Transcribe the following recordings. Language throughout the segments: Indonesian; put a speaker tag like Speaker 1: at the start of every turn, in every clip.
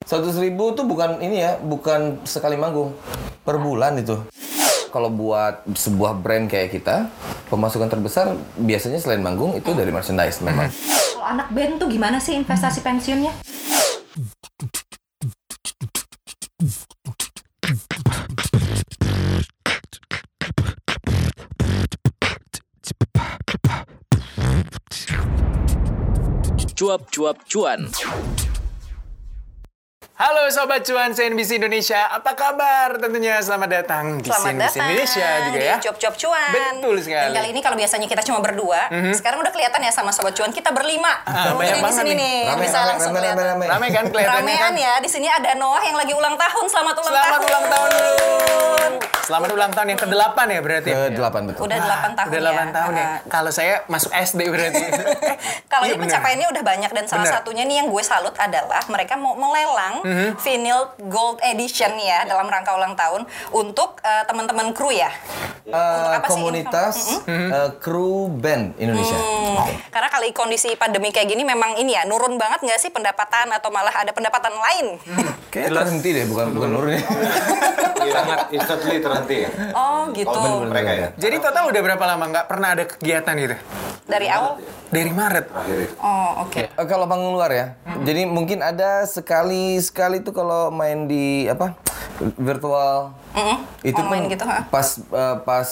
Speaker 1: Seratus ribu tuh bukan ini ya, bukan sekali manggung per bulan itu. Kalau buat sebuah brand kayak kita, pemasukan terbesar biasanya selain manggung itu dari merchandise memang.
Speaker 2: Kalau anak band tuh gimana sih investasi
Speaker 3: Hmm.
Speaker 2: pensiunnya?
Speaker 4: cuap cuap cuan.
Speaker 3: Halo Sobat Cuan CNBC Indonesia, apa kabar? Tentunya selamat datang di
Speaker 2: Selamat
Speaker 3: CNBC
Speaker 2: datang
Speaker 3: Indonesia juga ya.
Speaker 2: di cuap-cuap cuan.
Speaker 3: Betul sekali. Mhm.
Speaker 2: Dan kali ini kalau biasanya kita cuma berdua, sekarang udah kelihatan ya sama sobat cuan kita berlima.
Speaker 3: Ah,
Speaker 2: Kemudian
Speaker 3: banyak
Speaker 2: di
Speaker 3: banget
Speaker 2: sini
Speaker 3: nih.
Speaker 2: nih,
Speaker 1: Rame,
Speaker 2: Iya, bisa
Speaker 1: rame,
Speaker 2: langsung
Speaker 1: rame, rame,
Speaker 2: kelihatan.
Speaker 1: rame.
Speaker 3: Ramai kan kelihatannya
Speaker 2: Ramean
Speaker 3: kan?
Speaker 2: ya, di sini ada Noah yang lagi ulang tahun. Selamat ulang
Speaker 3: Selamat
Speaker 2: tahun.
Speaker 3: ulang tahun dulu. Selamat ulang tahun yang ke-8 ya berarti.
Speaker 1: Ke delapan betul.
Speaker 2: Udah 8 tahun
Speaker 3: Udah
Speaker 2: ya. Nah,
Speaker 3: 8 tahun ya. Kalau saya masuk SD berarti.
Speaker 2: Kalau ini
Speaker 3: Iya, bener.
Speaker 2: pencapaiannya udah banyak dan salah
Speaker 3: Bener.
Speaker 2: satunya nih yang gue salut adalah mereka mau melelang
Speaker 3: Mhm.
Speaker 2: vinyl gold edition ya
Speaker 3: Iya.
Speaker 2: dalam rangka ulang tahun untuk eh, teman-teman kru ya.
Speaker 1: Eh,
Speaker 2: apa sih
Speaker 1: komunitas eh, kru band Indonesia.
Speaker 2: Mm. Karena kali kondisi pandemi kayak gini memang ini ya nurun banget nggak sih pendapatan atau malah ada pendapatan lain?
Speaker 3: Hmm.
Speaker 1: Kayaknya terhenti deh, bukan bukan nurun ya.
Speaker 5: sangat instantly terhenti ya.
Speaker 2: Oh gitu.
Speaker 5: Kalau mereka ya.
Speaker 3: Jadi total udah berapa lama nggak pernah ada kegiatan gitu?
Speaker 2: Dari awal.
Speaker 3: Dari Maret.
Speaker 5: Terakhir itu.
Speaker 2: Oh oke.
Speaker 3: Iya.
Speaker 1: Eh, kalau panggung luar ya.
Speaker 2: Mm.
Speaker 1: Jadi mungkin ada sekali sekali tuh kalau main di apa virtual
Speaker 2: Mm-mm.
Speaker 1: itu
Speaker 2: Online
Speaker 1: pun
Speaker 2: gitu, ha?
Speaker 1: pas eh, pas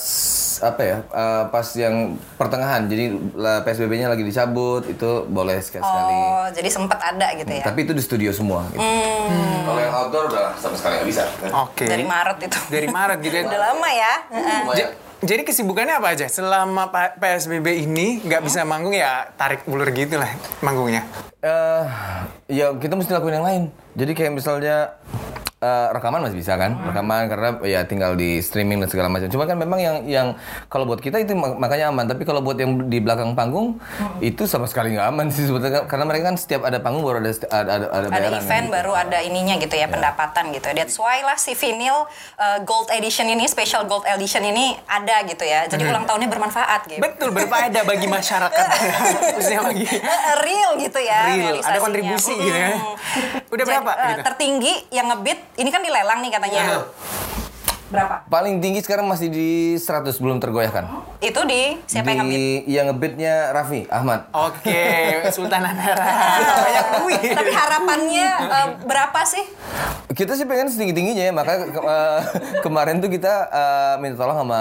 Speaker 1: apa ya eh, pas yang pertengahan jadi lah, PSBB-nya lagi dicabut itu boleh sekali sekali.
Speaker 2: Oh jadi sempat ada gitu ya.
Speaker 1: Tapi itu di studio semua. Gitu.
Speaker 2: Hmm.
Speaker 5: Kalau yang outdoor udah sama sekali nggak bisa.
Speaker 3: Oke.
Speaker 2: Dari Maret itu.
Speaker 3: Dari Maret gitu ya.
Speaker 2: Udah lama ya. Heeh.
Speaker 3: Ja- Jadi kesibukannya apa aja? Selama pa- PSBB ini nggak bisa manggung ya tarik ulur gitu lah manggungnya.
Speaker 1: Eh, ya kita mesti lakuin yang lain. Jadi kayak misalnya eh, rekaman masih bisa kan? Rekaman karena ya tinggal di streaming dan segala macam. Cuma kan memang yang yang kalau buat kita itu mak- makanya aman. Tapi kalau buat yang di belakang panggung itu sama sekali nggak aman sih sebetulnya. Karena mereka kan setiap ada panggung baru ada sti- ada ada, ada
Speaker 2: ada
Speaker 1: bayaran kan.
Speaker 2: event baru ada ininya gitu
Speaker 3: Iya.
Speaker 2: ya pendapatan gitu. That's why lah si vinyl uh, gold edition ini special gold edition ini ada gitu ya. Jadi
Speaker 3: Mm-hmm.
Speaker 2: ulang tahunnya bermanfaat gitu.
Speaker 3: Betul, berfaedah bagi masyarakat. Khususnya bagi
Speaker 2: real gitu ya
Speaker 3: real. Ada
Speaker 2: realisasinya.
Speaker 3: kontribusi gitu ya.
Speaker 2: Mm.
Speaker 3: Udah
Speaker 2: Jadi,
Speaker 3: berapa?
Speaker 2: eh,
Speaker 3: gitu? Iya.
Speaker 2: tertinggi yang ngebit ini kan dilelang nih katanya. Berapa?
Speaker 1: Paling tinggi sekarang masih di 100 belum tergoyahkan.
Speaker 2: Itu di siapa yang ngebit?
Speaker 1: Di yang ngebitnya Raffi Ahmad.
Speaker 3: Oke, Sultan Anara. Banyak duit.
Speaker 2: Tapi harapannya eh, berapa sih?
Speaker 1: Kita sih pengen setinggi-tingginya ya, maka ke- eh, kemarin tuh kita eh, minta tolong sama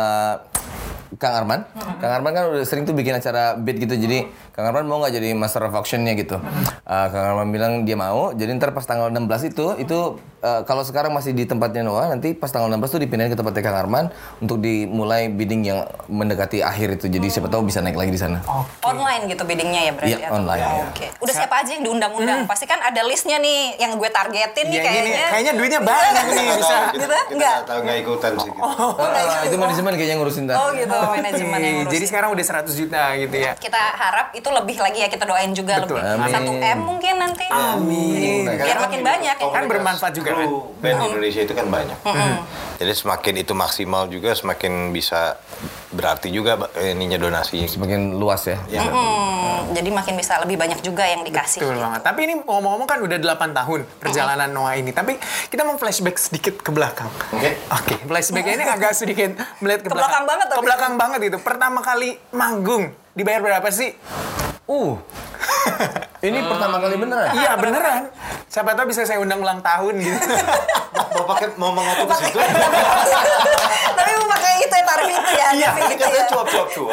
Speaker 1: Kang Arman. Kang Arman kan udah sering tuh bikin acara beat gitu, jadi Kang Arman mau nggak jadi master of auction-nya gitu. Eh, Kang Arman bilang dia mau, jadi ntar pas tanggal 16 itu, itu eh, kalau sekarang masih di tempatnya Noah, nanti pas tanggal 16 tuh dipindahin ke tempatnya Kang Arman untuk dimulai bidding yang mendekati akhir itu, jadi siapa tahu bisa naik lagi di sana.
Speaker 2: Online gitu biddingnya ya berarti.
Speaker 1: Iya,
Speaker 2: atau-
Speaker 1: online,
Speaker 2: Oh,
Speaker 1: iya.
Speaker 2: Oke. Udah siapa aja yang diundang-undang? Pasti kan ada listnya nih yang gue targetin nih
Speaker 3: Ya, Hmm. ini
Speaker 2: kayaknya.
Speaker 3: nih, kayaknya duitnya banyak nih
Speaker 5: Nggak
Speaker 3: bisa.
Speaker 5: tahu,
Speaker 2: Gitu?
Speaker 5: Kita, kita
Speaker 2: Enggak.
Speaker 5: nggak tahu nggak ikutan sih. Gitu.
Speaker 1: Eh, itu manajemen kayaknya ngurusin tar.
Speaker 2: Oh gitu, manajemen yang
Speaker 3: Jadi
Speaker 2: ngurusin.
Speaker 3: sekarang udah 100 juta gitu ya.
Speaker 2: Kita harap itu lebih lagi ya kita doain juga
Speaker 3: Betul.
Speaker 2: lebih
Speaker 1: Amin.
Speaker 2: satu m mungkin nanti. Amin. Biar makin banyak ya kan.
Speaker 3: Kan bermanfaat juga kan?
Speaker 5: Kru band Indonesia itu kan banyak. Jadi semakin itu maksimal juga semakin bisa berarti juga ba- ininya donasinya. gitu.
Speaker 1: Semakin luas ya.
Speaker 5: Ya.
Speaker 2: Hmm, Jadi makin bisa lebih banyak juga yang dikasih.
Speaker 3: Betul banget. Tapi ini ngomong-ngomong kan udah 8 tahun perjalanan Noah ini. Tapi kita mau flashback sedikit ke belakang.
Speaker 5: Oke.
Speaker 3: Oke, flashbacknya ini agak sedikit melihat ke,
Speaker 2: Ke belakang banget tapi.
Speaker 3: Ke belakang banget gitu. Pertama kali manggung dibayar berapa sih?
Speaker 1: Uh, ini pertama kali beneran.
Speaker 3: Iya beneran. Siapa tahu bisa saya undang ulang tahun gitu.
Speaker 5: Bapak kan mau mengatur ke situ.
Speaker 2: Tapi mau pakai itu ya tarif itu ya.
Speaker 3: Iya,
Speaker 2: tapi gitu
Speaker 5: Kan Katanya
Speaker 2: ya.
Speaker 5: cuap-cuap cuap.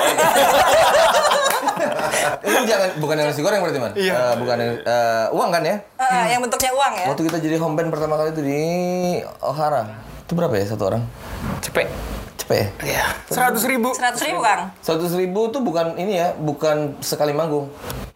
Speaker 1: Ini jangan bukan yang nasi goreng berarti man?
Speaker 3: Iya.
Speaker 1: Eh, bukan yang eh, uang kan ya?
Speaker 2: Eh, yang bentuknya uang ya.
Speaker 1: Waktu kita jadi home band pertama kali itu di O'Hara. Itu berapa ya satu orang?
Speaker 3: Cepet.
Speaker 1: Cepet ya?
Speaker 3: Iya. Seratus ribu.
Speaker 2: 100 ribu Kang.
Speaker 1: Seratus ribu tuh bukan ini ya, bukan sekali manggung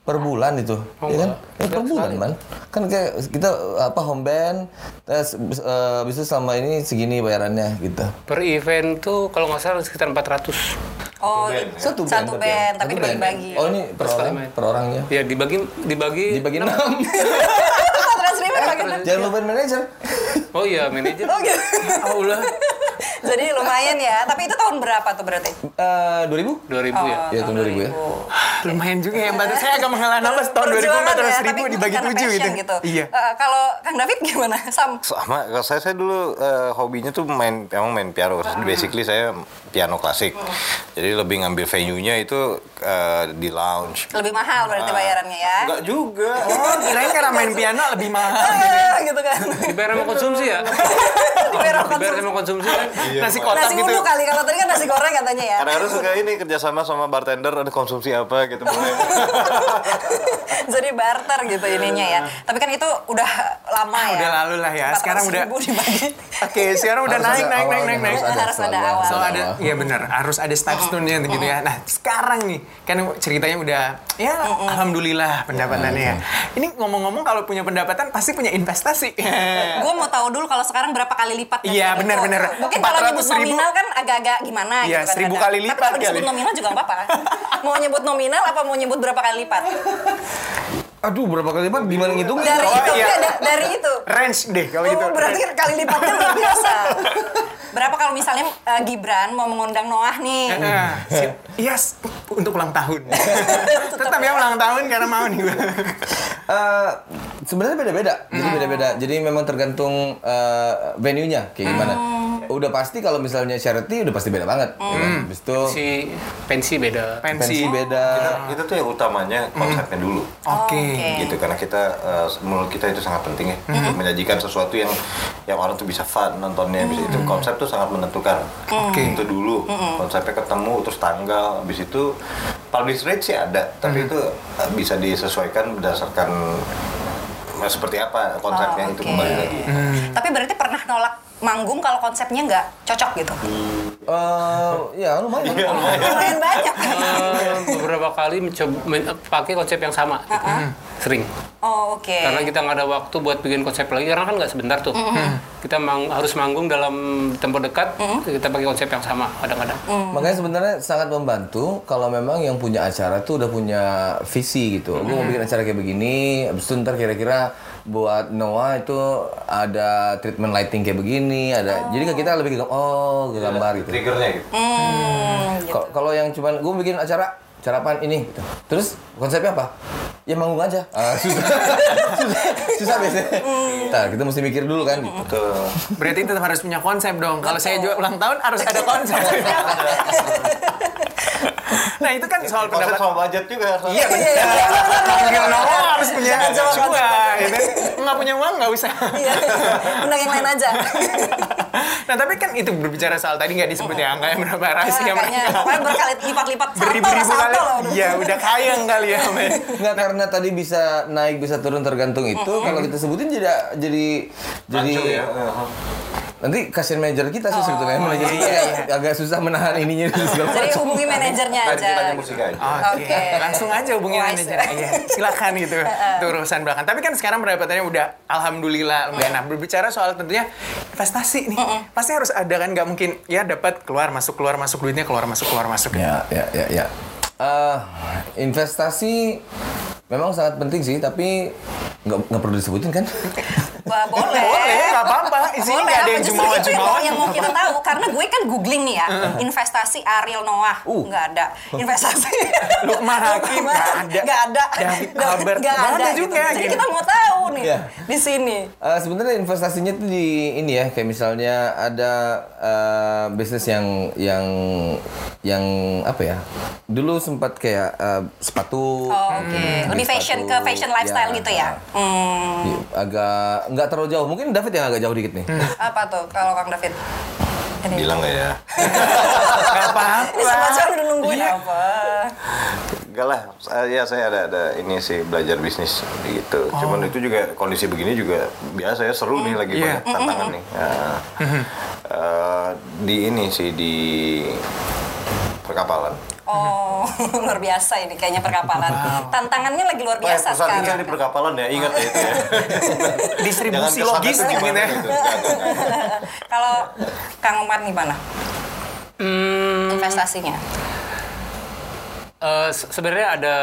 Speaker 1: per bulan itu,
Speaker 3: Oh,
Speaker 1: ya kan? Ya, per bulan man. Kan kayak kita apa home band, terus eh, bisa sama ini segini bayarannya gitu.
Speaker 6: Per event tuh kalau nggak salah sekitar 400.
Speaker 2: Oh,
Speaker 1: Satu band.
Speaker 2: satu
Speaker 1: berarti ya?
Speaker 2: band, tapi
Speaker 1: Satu band.
Speaker 2: dibagi-bagi.
Speaker 1: Oh ini per orang, per orangnya.
Speaker 6: Ya dibagi dibagi.
Speaker 1: Dibagi enam.
Speaker 2: 100 ribu dibagi.
Speaker 1: Jangan lupa manajer.
Speaker 6: Oh iya manajer. Ya
Speaker 2: Oh gitu.
Speaker 6: Allah.
Speaker 2: Jadi lumayan ya. Tapi itu tahun berapa tuh berarti?
Speaker 1: Eh, 2000?
Speaker 6: 2000 ya.
Speaker 1: Iya tahun 2000 ya.
Speaker 3: lumayan juga ya Mbak. Saya agak mengalah nambah tahun
Speaker 2: ya,
Speaker 3: 2000 400 ribu dibagi 7 gitu.
Speaker 2: Iya.
Speaker 3: Iya.
Speaker 2: kalau Kang David gimana? Sam.
Speaker 5: sama kalau saya saya dulu eh, hobinya tuh main emang main piano basically saya piano klasik jadi lebih ngambil venue nya itu eh, di lounge
Speaker 2: Lebih mahal berarti bayarannya ya.
Speaker 5: Enggak juga
Speaker 3: Oh, kirain karena main piano lebih mahal.
Speaker 2: Eh, gitu kan.
Speaker 6: Dibayar sama konsumsi ya?
Speaker 2: Dibayar sama
Speaker 6: Dibayar
Speaker 2: konsumsi.
Speaker 6: sama konsumsi kan?
Speaker 3: Nasi kotak
Speaker 2: Nasi
Speaker 3: gitu.
Speaker 2: uduk kali kalau tadi kan nasi goreng katanya ya.
Speaker 5: kadang-kadang suka ini kerjasama sama bartender ada konsumsi apa gitu boleh
Speaker 2: Jadi barter gitu ininya ya. Tapi kan itu udah lama ya.
Speaker 3: Iya. Udah lalu lah ya. Sekarang
Speaker 2: 400
Speaker 3: udah-
Speaker 2: ribu dibagi.
Speaker 3: Oke, sekarang udah
Speaker 1: Harus
Speaker 3: naik
Speaker 1: ada
Speaker 3: naik naik
Speaker 1: awalnya,
Speaker 3: naik naik.
Speaker 2: ada. Harus ada
Speaker 1: selalu
Speaker 2: awal.
Speaker 3: So
Speaker 2: Awal.
Speaker 3: ada, iya benar, harus ada stepstone-nya gitu ya. Nah sekarang nih, kan ceritanya udah, ya alhamdulillah pendapatannya ya. Ini ngomong-ngomong kalau punya pendapatan pasti punya investasi.
Speaker 2: Gue mau tahu dulu kalau sekarang berapa kali lipat. dari
Speaker 3: Iya,
Speaker 2: itu.
Speaker 3: benar-benar.
Speaker 2: Mungkin kalau nyebut
Speaker 3: 400 ribu.
Speaker 2: nominal kan agak-agak gimana
Speaker 3: Iya,
Speaker 2: gitu kan.
Speaker 3: 1000
Speaker 2: kadang.
Speaker 3: kali
Speaker 2: Tapi
Speaker 3: lipat
Speaker 2: kalau disebut
Speaker 3: kali.
Speaker 2: nominal juga nggak apa-apa. mau nyebut nominal apa mau nyebut berapa kali lipat?
Speaker 1: Aduh, berapa kali lipat? Gimana ngitungnya?
Speaker 2: Dari
Speaker 3: Oh,
Speaker 2: itu,
Speaker 3: iya.
Speaker 2: da- dari itu.
Speaker 3: Range deh kalau gitu.
Speaker 2: Oh, berarti
Speaker 3: Range.
Speaker 2: kali lipatnya luar biasa. Berapa kalau misalnya eh, Gibran mau mengundang Noah nih?
Speaker 3: Nah, si- yes, untuk ulang tahun. Tetap ya ulang tahun karena mau nih gue.
Speaker 1: Eh, sebenarnya beda-beda.
Speaker 2: Hmm.
Speaker 1: Jadi beda-beda. Jadi memang tergantung eh, venue-nya kayak gimana.
Speaker 2: Hmm.
Speaker 1: Udah pasti kalau misalnya charity udah pasti beda banget. ya kan? Habis itu
Speaker 2: Oh.
Speaker 6: Si pensi beda.
Speaker 1: pensi
Speaker 3: Pensi.
Speaker 1: beda.
Speaker 5: itu tuh yang utamanya konsepnya dulu
Speaker 3: Oke.
Speaker 5: gitu karena kita eh, menurut kita itu sangat penting ya menyajikan sesuatu yang yang orang tuh bisa fun nontonnya bisa itu konsep tuh sangat menentukan
Speaker 3: Oke.
Speaker 5: itu dulu konsepnya ketemu terus tanggal habis itu publish rate sih ada tapi itu eh, bisa disesuaikan berdasarkan eh, seperti apa konsepnya
Speaker 2: Oh,
Speaker 5: itu
Speaker 2: oke.
Speaker 5: kembali lagi
Speaker 3: Hmm.
Speaker 2: Tapi berarti pernah nolak manggung kalau konsepnya nggak cocok gitu?
Speaker 1: Eh, ya lumayan.
Speaker 2: Iya, Lumayan banyak.
Speaker 6: Eh, beberapa kali mencoba men- pakai konsep yang sama gitu. sering
Speaker 2: Oh Ah, oke.
Speaker 6: karena kita nggak ada waktu buat bikin konsep lagi karena kan nggak sebentar tuh
Speaker 2: Hmm,
Speaker 6: kita mang- harus manggung dalam tempo dekat
Speaker 2: Hmm.
Speaker 6: kita pakai konsep yang sama kadang-kadang
Speaker 1: Makanya sebenarnya sangat membantu kalau memang yang punya acara tuh udah punya visi gitu. Gue mau bikin acara kayak begini, habis itu ntar kira-kira buat Noah itu ada treatment lighting kayak begini, ada. Jadi kita lebih ke oh ke gambar gitu.
Speaker 5: triggernya gitu
Speaker 2: Hmm, gitu.
Speaker 1: Kalau- Kalau yang cuman gue bikin acara acara apaan ini gitu. Terus konsepnya apa? Ya manggung aja. Ah, susah. susah. Susah biasanya. Ntar kita mesti mikir dulu kan gitu.
Speaker 5: Betul.
Speaker 3: Berarti tetap harus punya konsep dong. Kalau saya juga ulang tahun harus ada konsep. nah itu kan soal
Speaker 5: konsep
Speaker 3: pendapat.
Speaker 5: sama budget juga
Speaker 3: Iya benar.
Speaker 2: iya.
Speaker 3: Panggil nomor harus punya
Speaker 2: Jangan jawab
Speaker 3: dua.
Speaker 2: konsep.
Speaker 3: Gitu. Nggak punya uang nggak usah.
Speaker 2: Iya. Undang yang lain aja.
Speaker 3: nah tapi kan itu berbicara soal tadi nggak disebut ya angkanya berapa
Speaker 2: Makanya,
Speaker 3: rahasia mereka.
Speaker 2: Iya, pokoknya berkali lipat-lipat salto lah,
Speaker 3: Beribu-ribu
Speaker 2: salto
Speaker 3: kali.
Speaker 2: loh.
Speaker 3: Iya udah kaya kali ya. Mbak.
Speaker 1: Nggak karena tadi bisa naik bisa turun tergantung itu. Kalau kita sebutin jadi jadi jadi
Speaker 5: Rancu ya.
Speaker 1: nanti kasihan manajer kita
Speaker 2: Oh,
Speaker 1: sih sebetulnya manajer kita agak- agak susah menahan ininya di segala
Speaker 2: iya, Jadi
Speaker 1: macam.
Speaker 2: hubungi manajernya
Speaker 5: Tadi
Speaker 2: aja.
Speaker 5: kita tanya musik aja
Speaker 3: Oke,
Speaker 2: Oke. Oh,
Speaker 3: langsung aja hubungin
Speaker 2: Wise.
Speaker 3: manajer. Iya, silakan gitu. Itu urusan belakang. Tapi kan sekarang pendapatannya udah alhamdulillah lumayan.
Speaker 2: Iya.
Speaker 3: Nah, berbicara soal tentunya investasi nih. Pasti harus ada kan nggak mungkin ya dapat keluar masuk keluar masuk duitnya keluar masuk keluar masuk.
Speaker 2: Iya.
Speaker 1: Ya, ya, ya, ya. Eh, investasi memang sangat penting sih, tapi nggak nggak perlu disebutin kan?
Speaker 2: Wah, boleh.
Speaker 3: Boleh, nggak apa-apa. Di Eh, sini nggak ada
Speaker 2: apa,
Speaker 3: yang
Speaker 2: justru
Speaker 3: jumawa Uh-huh.
Speaker 2: itu yang mau-
Speaker 3: jumawan.
Speaker 2: Yang mau kita tahu karena gue kan googling nih ya, investasi Ariel Noah
Speaker 1: Uh.
Speaker 2: nggak ada, investasi
Speaker 3: Lukman Hakim,
Speaker 2: Lukman,
Speaker 3: nggak ada.
Speaker 2: nggak ada,
Speaker 3: David
Speaker 2: Nggak-
Speaker 3: Albert,
Speaker 2: nggak
Speaker 3: nggak
Speaker 2: ada
Speaker 3: ada juga,
Speaker 2: gitu. Jadi
Speaker 3: gitu.
Speaker 2: kita mau tahu nih
Speaker 1: Iya.
Speaker 2: di sini.
Speaker 1: Eh, sebenarnya investasinya tuh di ini ya, kayak misalnya ada eh, bisnis yang yang yang apa ya? Dulu sempat kayak eh, sepatu.
Speaker 2: Oh, Oke,
Speaker 5: Hmm,
Speaker 2: lebih
Speaker 1: Beli
Speaker 2: fashion ke
Speaker 1: sepatu.
Speaker 2: fashion lifestyle gitu ya. Hmm,
Speaker 1: Iya, Agak nggak terlalu jauh. Mungkin David yang agak jauh dikit nih.
Speaker 2: apa tuh kalau Kang David? Ini.
Speaker 5: bilang nggak ya
Speaker 3: Nggak
Speaker 2: Ini semua
Speaker 3: apa-apa.
Speaker 2: orang udah nungguin
Speaker 3: Iya.
Speaker 2: apa?
Speaker 5: Enggak lah, saya- ya saya ada ada ini sih belajar bisnis gitu. Cuman itu juga kondisi begini juga biasa ya seru nih lagi
Speaker 3: Iya.
Speaker 5: banyak tantangan nih. Nah, eh, di ini sih di perkapalan.
Speaker 2: Oh, luar biasa ini kayaknya perkapalan. Tantangannya lagi
Speaker 3: Oh,
Speaker 2: luar
Speaker 3: ya,
Speaker 5: Pak,
Speaker 2: biasa
Speaker 5: perusahaan kita
Speaker 2: sekarang.
Speaker 5: di perkapalan ya, ingat ya itu ya. Jangan
Speaker 3: Distribusi
Speaker 5: kesana
Speaker 3: logistik
Speaker 5: tuh
Speaker 3: gitu
Speaker 5: gimana
Speaker 3: ya.
Speaker 5: gitu. Jangan, jangan.
Speaker 2: Kalau Kang Umar gimana
Speaker 6: Hmm,
Speaker 2: investasinya?
Speaker 6: eh, se- sebenarnya ada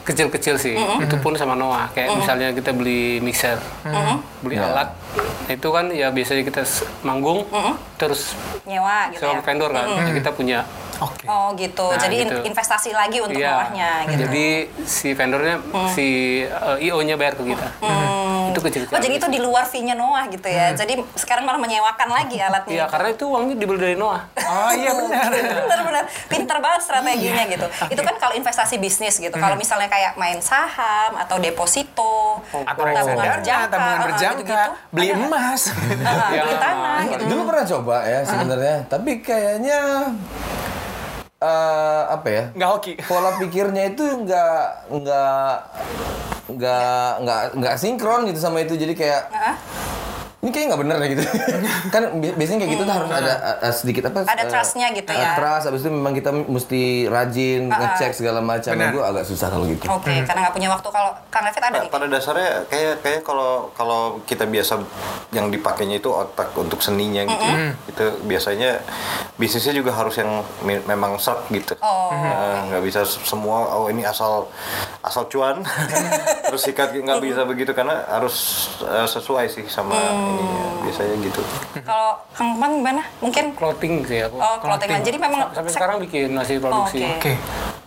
Speaker 6: kecil-kecil sih itu pun sama Noah kayak misalnya kita beli mixer beli alat itu kan ya biasanya kita s- manggung terus
Speaker 2: Nyewa gitu
Speaker 6: sewa
Speaker 2: ya?
Speaker 6: vendor kan Ya, kita punya
Speaker 3: Oke.
Speaker 2: Oh gitu.
Speaker 6: Nah,
Speaker 2: Jadi in-
Speaker 6: gitu. Iya.
Speaker 2: investasi lagi untuk bawahnya gitu. Mm.
Speaker 6: Jadi si vendornya, si IO-nya bayar ke kita. Itu kecil-kecil.
Speaker 2: Oh
Speaker 6: Hmm.
Speaker 2: jadi itu di luar fee-nya Noah gitu ya. Jadi sekarang malah menyewakan lagi alatnya.
Speaker 6: Iya, karena itu uangnya dibeli dari Noah.
Speaker 3: Oh iya benar.
Speaker 2: Gitu. Bener-bener pinter banget strateginya
Speaker 6: Iya.
Speaker 2: gitu. Itu kan kalau investasi bisnis gitu. Kalau
Speaker 6: Hmm.
Speaker 2: misalnya kayak main saham atau deposito,
Speaker 6: Oh,
Speaker 3: Atau reksadana, tabungan
Speaker 2: eh,
Speaker 3: berjangka,
Speaker 2: gitu-gitu.
Speaker 6: Iya.
Speaker 3: beli
Speaker 2: Ada nggak?
Speaker 3: emas.
Speaker 2: Eh,
Speaker 6: Ya,
Speaker 2: beli tanah
Speaker 6: emas.
Speaker 2: gitu.
Speaker 1: Dulu pernah coba ya sebenarnya, tapi kayaknya eh, apa ya?
Speaker 3: Nggak hoki.
Speaker 2: Gitu,
Speaker 1: Pola pikirnya itu nggak nggak nggak nggak nggak sinkron gitu sama itu jadi kayak
Speaker 2: Heeh.
Speaker 1: ini kayaknya nggak bener deh gitu kan bi- biasanya kayak gitu tuh harus ada eh, sedikit apa
Speaker 2: Hmm. Ada
Speaker 1: eh,
Speaker 2: trust-nya gitu
Speaker 1: eh,
Speaker 2: ya. Ah,
Speaker 1: trust habis itu memang kita mesti rajin ngecek segala macam
Speaker 3: Benar.
Speaker 1: gue agak susah kalau gitu
Speaker 2: Oke,
Speaker 6: Hmm.
Speaker 2: karena nggak punya waktu kalau Kang Levit ada
Speaker 5: Pa-
Speaker 2: nih.
Speaker 5: pada dasarnya kayak kayak kalau kalau kita biasa yang dipakainya itu otak untuk seninya gitu ya. itu biasanya bisnisnya juga harus yang me- memang sharp gitu
Speaker 2: Oh.
Speaker 5: Nah, nggak bisa se- semua oh ini asal asal cuan terus sikat nggak bisa begitu karena harus eh, sesuai sih sama ininya biasanya gitu
Speaker 2: Kalau Kang Bang gimana? Mungkin
Speaker 6: Clothing sih aku.
Speaker 2: oh clothingan. Jadi memang
Speaker 6: Sampai
Speaker 2: sek-
Speaker 6: sekarang bikin masih
Speaker 2: Oh,
Speaker 6: produksi.
Speaker 2: Oke.
Speaker 3: Oke.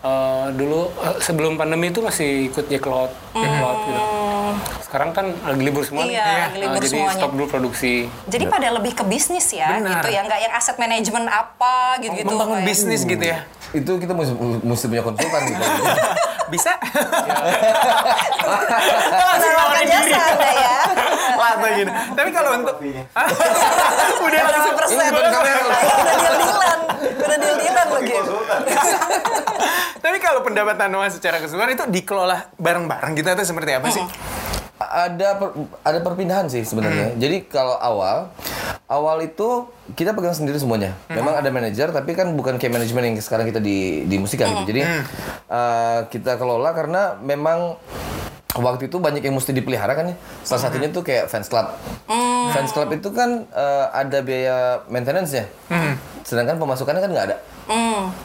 Speaker 6: Eh, dulu eh, sebelum pandemi itu masih ikut Jeklot, Jeklot gitu. Sekarang kan lagi libur semua
Speaker 2: Hmm.
Speaker 6: nih.
Speaker 2: Iya,
Speaker 6: Eh,
Speaker 2: lagi libur
Speaker 6: jadi
Speaker 2: semuanya.
Speaker 6: stop dulu produksi.
Speaker 2: Jadi pada lebih ke bisnis ya,
Speaker 3: Benar.
Speaker 2: gitu ya, nggak yang aset manajemen apa gitu-gitu.
Speaker 3: Membangun
Speaker 2: kayak-
Speaker 3: bisnis gitu ya.
Speaker 1: itu kita mesti, mesti punya konsultan gitu
Speaker 3: Bisa?
Speaker 2: Menawarkan jasa Anda ya.
Speaker 3: Lama gini. Tapi kalau untuk Ah, udah langsung
Speaker 2: Persen.
Speaker 1: bukan kamera loh.
Speaker 2: Udah deal-dealan, udah deal-dealan loh gitu.
Speaker 3: Tapi kalau pendapatan Noah secara keseluruhan itu dikelola bareng-bareng gitu atau seperti apa sih?
Speaker 1: ada per- ada perpindahan sih sebenarnya. Jadi kalau awal awal itu kita pegang sendiri semuanya. Memang ada manajer tapi kan bukan kayak manajemen yang sekarang kita di di musika gitu. Jadi eh, kita kelola karena memang waktu itu banyak yang mesti dipelihara kan ya. Salah satunya tuh kayak fans club. Fans club itu kan eh, ada biaya maintenance-nya. Sedangkan pemasukannya kan nggak ada.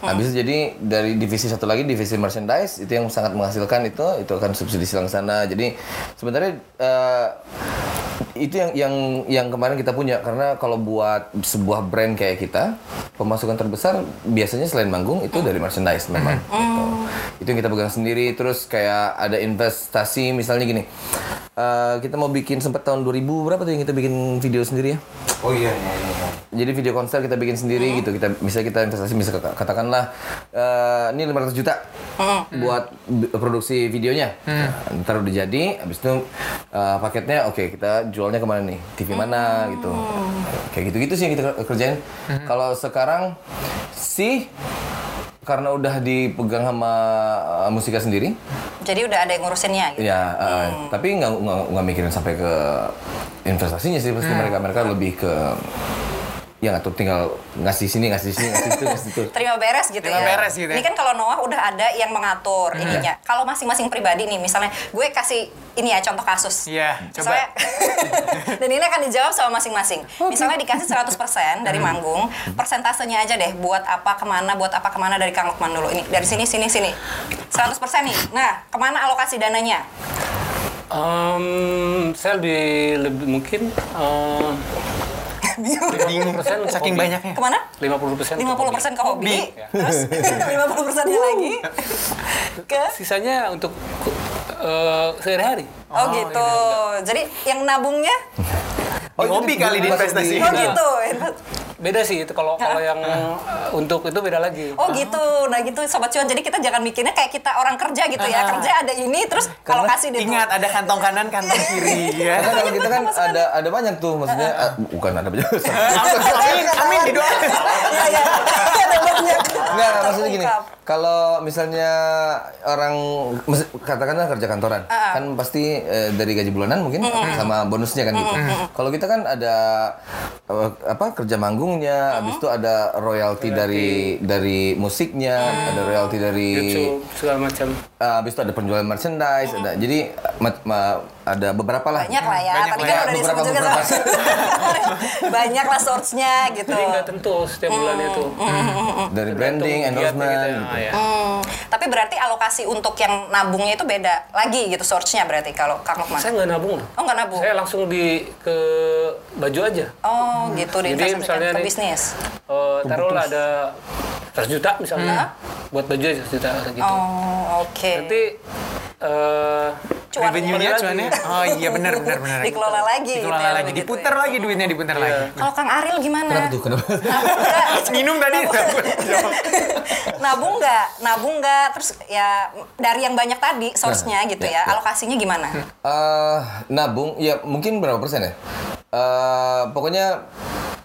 Speaker 1: Habis itu jadi dari divisi satu lagi divisi merchandise itu yang sangat menghasilkan itu itu akan subsidi silang sana. Jadi sebenarnya eh, itu yang yang yang kemarin kita punya karena kalau buat sebuah brand kayak kita pemasukan terbesar biasanya selain manggung itu dari merchandise memang. gitu. Itu yang kita pegang sendiri terus kayak ada investasi misalnya gini. eh, kita mau bikin sempat tahun 2000 berapa tuh yang kita bikin video sendiri ya?
Speaker 5: oh iya iya iya
Speaker 1: jadi video konser kita bikin sendiri gitu kita bisa kita investasi bisa kata- katakanlah eh, ini 500 juta buat bi- produksi videonya Nah, ntar udah jadi habis itu eh, paketnya oke kita jualnya kemana nih TV mana gitu kayak gitu gitu sih yang kita ker- kerjain kalau sekarang sih karena udah dipegang sama eh, musika sendiri
Speaker 2: Jadi udah ada yang ngurusinnya
Speaker 3: Iya.
Speaker 2: gitu.
Speaker 1: ya eh, tapi nggak nggak nggak mikirin sampai ke investasinya sih pasti mereka mereka lebih ke ya ngatur tinggal ngasih sini ngasih sini ngasih itu ngasih itu
Speaker 2: terima beres gitu
Speaker 3: Terima
Speaker 2: ya.
Speaker 3: beres gitu ya. Hmm.
Speaker 2: Ini kan kalau Noah udah ada yang mengatur ininya. Kalau masing-masing pribadi nih, misalnya gue kasih ini ya contoh kasus.
Speaker 3: Iya, coba.
Speaker 2: Misalnya- dan ini akan dijawab sama masing-masing. Misalnya dikasih 100% dari manggung, persentasenya aja deh buat apa kemana, buat apa kemana dari Kang Lukman dulu. Ini dari sini, sini, sini. 100% nih. Nah, kemana alokasi dananya?
Speaker 6: Em, saya lebih, lebih mungkin eh, em,
Speaker 3: Bingung. Saking banyaknya.
Speaker 2: Kemana?
Speaker 6: 50% ke
Speaker 2: 50% ke hobi,
Speaker 6: Hobi.
Speaker 2: terus 50%-nya lagi ke
Speaker 6: Sisanya untuk eh, sehari-hari.
Speaker 2: Oh, gitu. Jadi yang nabungnya
Speaker 1: Oh, itu
Speaker 3: hobi
Speaker 1: di-
Speaker 3: kali di
Speaker 1: masuk
Speaker 3: investasi.
Speaker 2: oh gitu.
Speaker 6: Beda sih itu kalau kalau yang eh, untuk itu beda lagi.
Speaker 2: Oh gitu. Nah gitu sobat cuan. Jadi kita jangan mikirnya kayak kita orang kerja gitu ya. Kerja ada ini terus kalau kasih deh.
Speaker 3: Ingat ada kantong kanan, kantong kiri ya.
Speaker 1: Karena kalau kita kan ada ada banyak tuh maksudnya ah, bukan ada banyak
Speaker 3: Amin, amin didoakan.
Speaker 2: Iya iya. Ada
Speaker 3: iya.
Speaker 2: banyak.
Speaker 1: Enggak, enggak, maksudnya gini.
Speaker 2: Terungkap.
Speaker 1: Kalau misalnya orang mes- katakanlah kerja kantoran,
Speaker 2: Ah,
Speaker 1: kan pasti eh, dari gaji bulanan mungkin sama bonusnya kan gitu. Kalau kita kan ada eh, apa kerja manggungnya, habis itu ada royalti dari dari musiknya, ada royalti dari
Speaker 6: YouTube segala macam.
Speaker 1: eh, habis itu ada penjualan merchandise, ada jadi eh, ma- ma- ada beberapa lah.
Speaker 2: Banyak lah ya.
Speaker 3: Banyak
Speaker 2: Tadi
Speaker 3: lah
Speaker 2: kan
Speaker 3: ya.
Speaker 2: udah disebut juga.
Speaker 1: Beberapa-
Speaker 2: sama- banyak lah source-nya gitu.
Speaker 6: Jadi nggak tentu setiap bulannya itu.
Speaker 1: Dari branding, gitu.
Speaker 6: Tergantung giatnya
Speaker 1: endorsement.
Speaker 6: kita. Ah, ya.
Speaker 2: Hmm, Tapi berarti alokasi untuk yang nabungnya itu beda lagi gitu source-nya berarti kalau Kang Lukman.
Speaker 6: Saya nggak nabung loh.
Speaker 2: Oh nggak nabung.
Speaker 6: Saya langsung di ke baju aja.
Speaker 2: Oh gitu
Speaker 6: Jadi
Speaker 2: diinvestasikan
Speaker 6: misalnya
Speaker 2: ke
Speaker 6: nih-
Speaker 2: bisnis.
Speaker 6: Eh, taruhlah ada 100 juta misalnya buat baju aja 100 juta kayak gitu
Speaker 2: Oh, oke.
Speaker 6: nanti eh
Speaker 2: Cuan ya.
Speaker 3: Revenue-nya
Speaker 6: kembali
Speaker 3: cuannya.
Speaker 6: lagi.
Speaker 3: Oh iya benar benar benar.
Speaker 2: Dikelola lagi gitu
Speaker 3: Dikelola
Speaker 2: ya,
Speaker 3: lagi,
Speaker 2: begitu
Speaker 3: diputar
Speaker 2: ya.
Speaker 3: lagi duitnya diputar lagi.
Speaker 2: Kalau Kang Aril gimana?
Speaker 1: Kenapa tuh? Kenapa?
Speaker 3: Minum tadi.
Speaker 2: Iya. nabung nggak? Nabung nggak? Terus ya dari yang banyak tadi source-nya
Speaker 3: Nah,
Speaker 2: gitu
Speaker 1: ya,
Speaker 2: ya,
Speaker 1: ya.
Speaker 2: alokasinya gimana?
Speaker 1: Eh, nabung ya mungkin berapa persen ya? Eh, pokoknya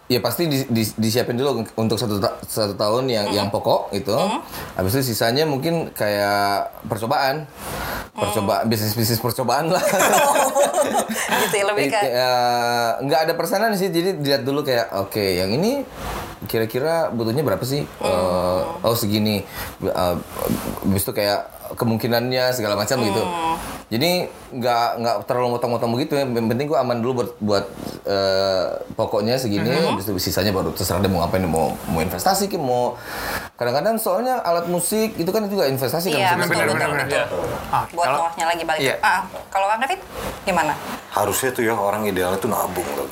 Speaker 1: ya pasti di- di- disiapin dulu untuk satu, ta- satu tahun yang yang pokok gitu. Habis itu sisanya mungkin kayak percobaan. Percobaan bisnis-bisnis percobaan lah.
Speaker 2: gitu ya,
Speaker 3: Iya,
Speaker 2: lebih ke
Speaker 1: Eh, eh, nggak ada persenan sih jadi dilihat dulu kayak oke yang ini kira-kira butuhnya berapa sih Eh, oh segini Eh, habis itu kayak kemungkinannya segala macam gitu
Speaker 2: Mm.
Speaker 1: jadi nggak nggak terlalu motong-motong begitu ya yang penting gua aman dulu buat buat eh, pokoknya segini
Speaker 2: Mm-hmm.
Speaker 1: habis itu sisanya baru terserah dia mau ngapain dia mau mau investasi ke mau kadang-kadang soalnya alat musik itu kan juga investasi kan
Speaker 2: Iya,
Speaker 1: musik-
Speaker 3: benar benar benar. Ah,
Speaker 2: buat
Speaker 3: kalau-
Speaker 2: bawahnya lagi balik.
Speaker 3: Iya.
Speaker 2: Ah, kalau Kang David gimana?
Speaker 5: Harusnya tuh ya orang idealnya tuh nabung loh.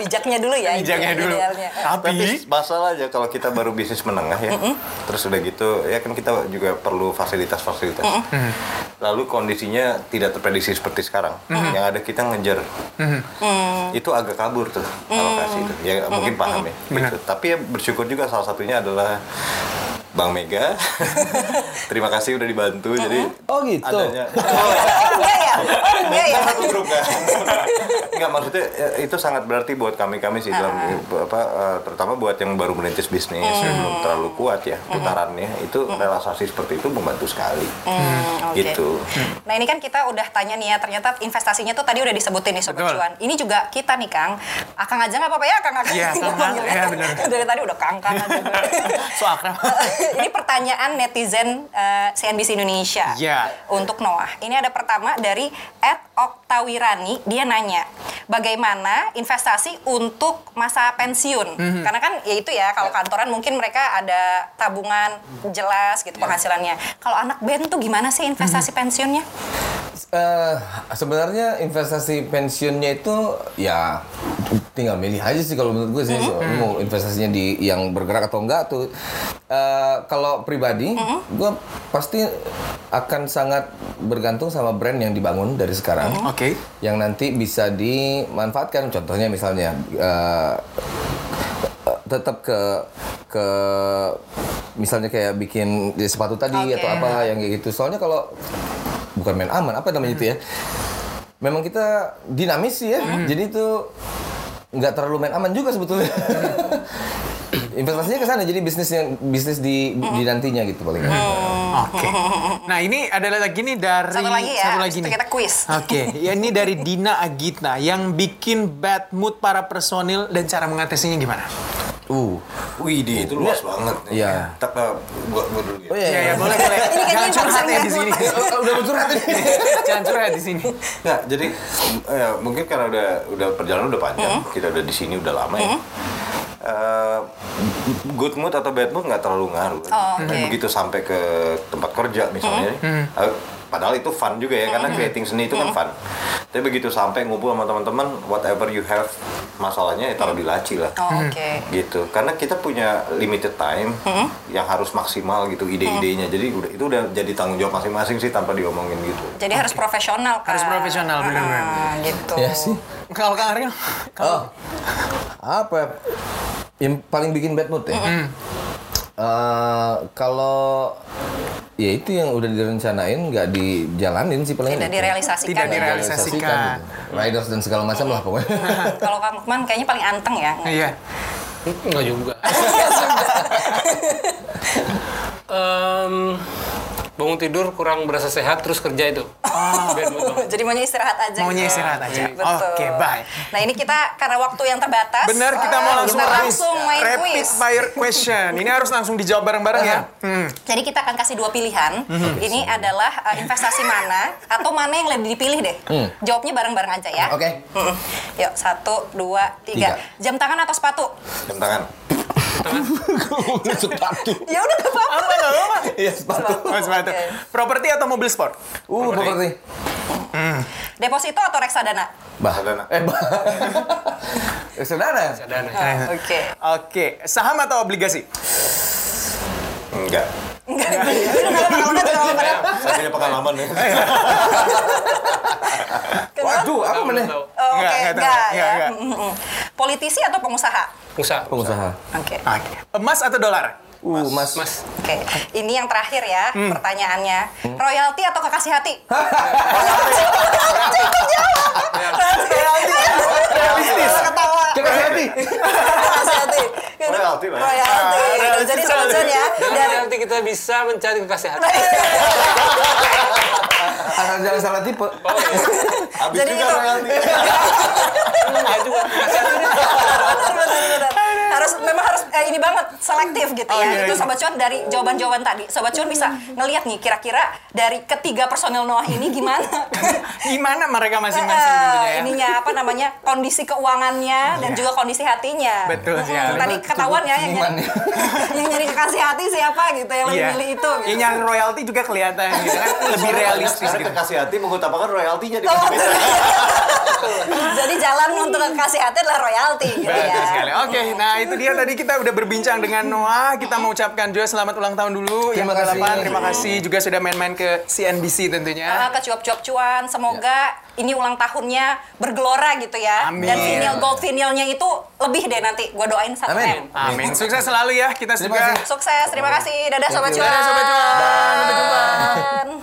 Speaker 2: Bijaknya dulu ya.
Speaker 3: Bijaknya
Speaker 2: ide-
Speaker 3: dulu.
Speaker 2: idealnya.
Speaker 3: Tapi
Speaker 5: masalah aja kalau kita baru bisnis menengah ya terus udah gitu ya kan kita juga perlu fasilitas-fasilitas lalu kondisinya tidak terprediksi seperti sekarang yang ada kita ngejar itu agak kabur tuh alokasi itu ya mungkin paham ya gitu. tapi ya bersyukur juga salah satunya adalah Bang Mega, terima kasih udah dibantu. Jadi
Speaker 1: Oh, gitu.
Speaker 5: adanya-
Speaker 2: Oh, enggak ya? Oh, enggak ya?
Speaker 5: satu grup kan? Enggak maksudnya ya, itu sangat berarti buat kami-kami sih dalam apa eh, terutama buat yang baru merintis bisnis yang belum terlalu kuat ya putarannya itu relaksasi seperti itu membantu sekali.
Speaker 2: Hmm, oke.
Speaker 5: Gitu.
Speaker 2: Nah ini kan kita udah tanya nih ya, ternyata investasinya tuh tadi udah disebutin nih Sobat
Speaker 3: Betul.
Speaker 2: Cuan. Ini juga kita nih Kang, Akang aja nggak apa-apa ya Kang Akang?
Speaker 3: Iya,
Speaker 2: Gua
Speaker 3: Kang.
Speaker 2: panggilnya.
Speaker 3: Iya, bener.
Speaker 2: Dari tadi udah Kang Kang aja. gua.
Speaker 3: so akrab.
Speaker 2: ini pertanyaan netizen eh, CNBC Indonesia
Speaker 3: Iya.
Speaker 2: untuk Noah. Ini ada pertama dari Ed Oktawirani, dia nanya bagaimana investasi untuk masa pensiun.
Speaker 3: Mhm.
Speaker 2: Karena kan ya itu ya kalau kantoran mungkin mereka ada tabungan jelas
Speaker 3: Iya.
Speaker 2: gitu penghasilannya. Kalau anak band tuh gimana sih
Speaker 3: Mhm.
Speaker 2: investasi pensiunnya?
Speaker 1: Eh, sebenarnya investasi pensiunnya itu ya tinggal milih aja sih kalau menurut gue sih So, mau investasinya di yang bergerak atau enggak tuh Eh, kalau pribadi gue pasti akan sangat bergantung sama brand yang dibangun dari sekarang
Speaker 3: Oke.
Speaker 1: yang nanti bisa dimanfaatkan contohnya misalnya eh, eh, tetap ke ke misalnya kayak bikin ya, sepatu tadi
Speaker 2: Oke.
Speaker 1: atau apa yang kayak gitu soalnya kalau bukan main aman apa namanya itu ya memang kita dinamis sih ya jadi itu nggak terlalu main aman juga sebetulnya investasinya ke sana jadi bisnis yang bisnis di di nantinya gitu paling
Speaker 3: Oke. Nah, ini ada lagi nih dari
Speaker 2: Satu lagi ya,
Speaker 3: satu
Speaker 2: habis
Speaker 3: lagi
Speaker 2: itu
Speaker 3: nih.
Speaker 2: kita quiz.
Speaker 3: Oke, ya ini dari Dina Agita yang bikin bad mood para personil dan cara mengatasinya gimana?
Speaker 1: uh
Speaker 5: Wih, di itu luas banget.
Speaker 1: Iya.
Speaker 5: Tapi gua, gua dulu ya.
Speaker 1: oh iya, iya.
Speaker 3: boleh boleh.
Speaker 2: Ini kayaknya
Speaker 3: Jangan curhat ya
Speaker 2: yang
Speaker 3: di sini.
Speaker 1: udah muncul hati
Speaker 3: Jangan curhat di sini.
Speaker 5: Nah, jadi ya, mungkin karena udah udah perjalanan udah panjang,
Speaker 2: Mm-hmm.
Speaker 5: kita udah di sini udah lama ya. Eh, good mood atau bad mood nggak terlalu ngaruh.
Speaker 2: Oh, oke. Mm-hmm.
Speaker 5: Tapi Begitu sampai ke tempat kerja misalnya, eh, padahal itu fun juga ya karena creating seni itu kan fun. Tapi begitu sampai ngumpul sama teman-teman, whatever you have masalahnya ya taruh di laci lah
Speaker 3: Mhm.
Speaker 2: Oh, Oke.
Speaker 5: gitu karena kita punya limited time
Speaker 2: Mm-hmm.
Speaker 5: yang harus maksimal gitu ide-idenya jadi udah itu udah jadi tanggung jawab masing-masing sih tanpa diomongin gitu
Speaker 2: Jadi harus profesional kan?
Speaker 3: Harus profesional, benar-benar.
Speaker 2: Ah, gitu.
Speaker 1: ya sih
Speaker 3: Kalau Kang Ariel, kalau
Speaker 1: Oh, apa ya? yang paling bikin bad mood ya? Eh, kalau ya itu yang udah direncanain nggak dijalanin sih paling
Speaker 2: Tidak direalisasikan.
Speaker 3: Tidak
Speaker 2: ya.
Speaker 3: direalisasikan.
Speaker 1: Direalisasikan, gitu. Riders dan segala macam lah pokoknya.
Speaker 2: Kalau Kang Lukman kayaknya paling anteng ya.
Speaker 3: iya.
Speaker 6: Enggak juga. Em, bangun tidur kurang berasa sehat terus kerja itu. Bad mood banget.
Speaker 2: Jadi maunya istirahat aja.
Speaker 3: Maunya
Speaker 2: gitu.
Speaker 3: istirahat aja.
Speaker 2: Betul.
Speaker 3: Oke, bye.
Speaker 2: Nah ini kita karena waktu yang terbatas.
Speaker 3: Benar, kita
Speaker 2: eh,
Speaker 3: mau langsung
Speaker 2: kita
Speaker 3: quiz.
Speaker 2: langsung main
Speaker 3: rapid
Speaker 2: quiz.
Speaker 3: fire question. Ini harus langsung dijawab bareng-bareng ya. Hmm.
Speaker 2: Jadi kita akan kasih dua pilihan.
Speaker 3: Mhm.
Speaker 2: Ini adalah eh, investasi mana atau mana yang lebih dipilih deh. Jawabnya bareng-bareng aja ya.
Speaker 1: Oke.
Speaker 2: Mm-mm. Yuk satu, dua, tiga.
Speaker 1: Tiga.
Speaker 2: Jam tangan atau sepatu?
Speaker 5: jam tangan
Speaker 1: sepatu.
Speaker 2: Ya udah gak apa-apa.
Speaker 3: Apa nggak apa?
Speaker 1: Iya sepatu.
Speaker 3: Oh, sepatu.
Speaker 2: Oke.
Speaker 3: Properti atau mobil sport?
Speaker 1: Uh, properti.
Speaker 2: Deposito atau reksadana?
Speaker 1: Bah.
Speaker 5: Sadana.
Speaker 1: Eh, bah. Eh, Sadana.
Speaker 6: Dan
Speaker 2: Oke.
Speaker 3: Eh. Oke, saham atau obligasi?
Speaker 5: Enggak.
Speaker 2: Enggak, itu kalau pengalaman tuh kalau pada
Speaker 5: Saya punya pengalaman
Speaker 3: Eh.
Speaker 5: ya.
Speaker 1: Waduh, apa
Speaker 6: Tahu,
Speaker 1: meneh?
Speaker 6: tahu.
Speaker 2: Oh, Oke,
Speaker 3: Enggak, enggak tahu.
Speaker 2: enggak ya.
Speaker 3: Enggak, enggak.
Speaker 2: Mm, mm, mm. Politisi atau pengusaha?
Speaker 6: Pengusaha.
Speaker 1: Pengusaha.
Speaker 2: Oke.
Speaker 3: Oke. Emas atau dolar?
Speaker 1: Uh, mas.
Speaker 6: Mas.
Speaker 2: Oke. Ini yang terakhir ya
Speaker 3: Hmm.
Speaker 2: pertanyaannya. Royalti atau kekasih hati?
Speaker 3: Realistis.
Speaker 2: Ketawa.
Speaker 1: Jangan hati.
Speaker 2: Kekasih hati. Gitu.
Speaker 5: Royalti lah ya.
Speaker 2: Royalti. Gitu.
Speaker 3: royalti
Speaker 2: Jadi
Speaker 3: soalnya.
Speaker 2: solusinya ya.
Speaker 6: Dan
Speaker 2: Dari
Speaker 6: nanti kita bisa mencari kekasih hati.
Speaker 1: Asal jangan salah tipe.
Speaker 5: Habis
Speaker 2: Jadi
Speaker 5: juga
Speaker 2: itu.
Speaker 5: royalti.
Speaker 6: Enggak juga kekasih hati. deh.
Speaker 2: Benar, benar, benar. harus memang harus eh, ini banget selektif gitu ya.
Speaker 3: Oh, iya,
Speaker 2: Itu
Speaker 3: iya.
Speaker 2: sobat cuan dari jawaban-jawaban tadi, sobat cuan bisa ngelihat nih kira-kira dari ketiga personil Noah ini gimana.
Speaker 3: Gimana mereka masing-masing tentunya
Speaker 2: Eh,
Speaker 3: ya? Iya.
Speaker 2: ininya apa namanya kondisi keuangannya dan juga kondisi hatinya.
Speaker 3: Betul
Speaker 2: Mm-mm.
Speaker 3: sekali.
Speaker 2: Tadi ketahuan ya yang
Speaker 1: Iman
Speaker 2: nyari,
Speaker 1: ya.
Speaker 2: yang nyari kekasih hati siapa gitu yang lebih
Speaker 3: Iya.
Speaker 2: milih itu. Gitu.
Speaker 3: Yang nyari royalti juga kelihatan gitu kan. Lebih realistis
Speaker 5: Karena
Speaker 3: gitu.
Speaker 5: kekasih hati mengutamakan royaltinya di
Speaker 2: Oh,
Speaker 5: masing-masing.
Speaker 2: Jadi jalan untuk kekasih hati adalah royalti gitu
Speaker 3: Betul sekali.
Speaker 2: ya.
Speaker 3: Oke, nah itu dia tadi kita udah berbincang dengan Noah. Kita mau ucapkan juga selamat ulang tahun dulu.
Speaker 1: Terima
Speaker 3: yang ke-8.
Speaker 1: kasih.
Speaker 3: Terima kasih juga sudah main-main ke
Speaker 2: Ah,
Speaker 3: CNBC tentunya.
Speaker 2: ke cuap-cuap cuan, semoga ini ulang tahunnya bergelora gitu ya.
Speaker 3: Iya. Amin.
Speaker 2: Dan vinyl gold vinylnya itu lebih deh nanti. Gua doain satu
Speaker 1: Amin.
Speaker 2: M.
Speaker 3: Amin. Sukses selalu ya. Kita
Speaker 1: Terima
Speaker 3: juga
Speaker 1: kasih.
Speaker 2: Sukses, terima kasih. Dadah sobat cuan.
Speaker 1: Dadah, Sobat Cuan.
Speaker 2: Dadah, sobat cuan.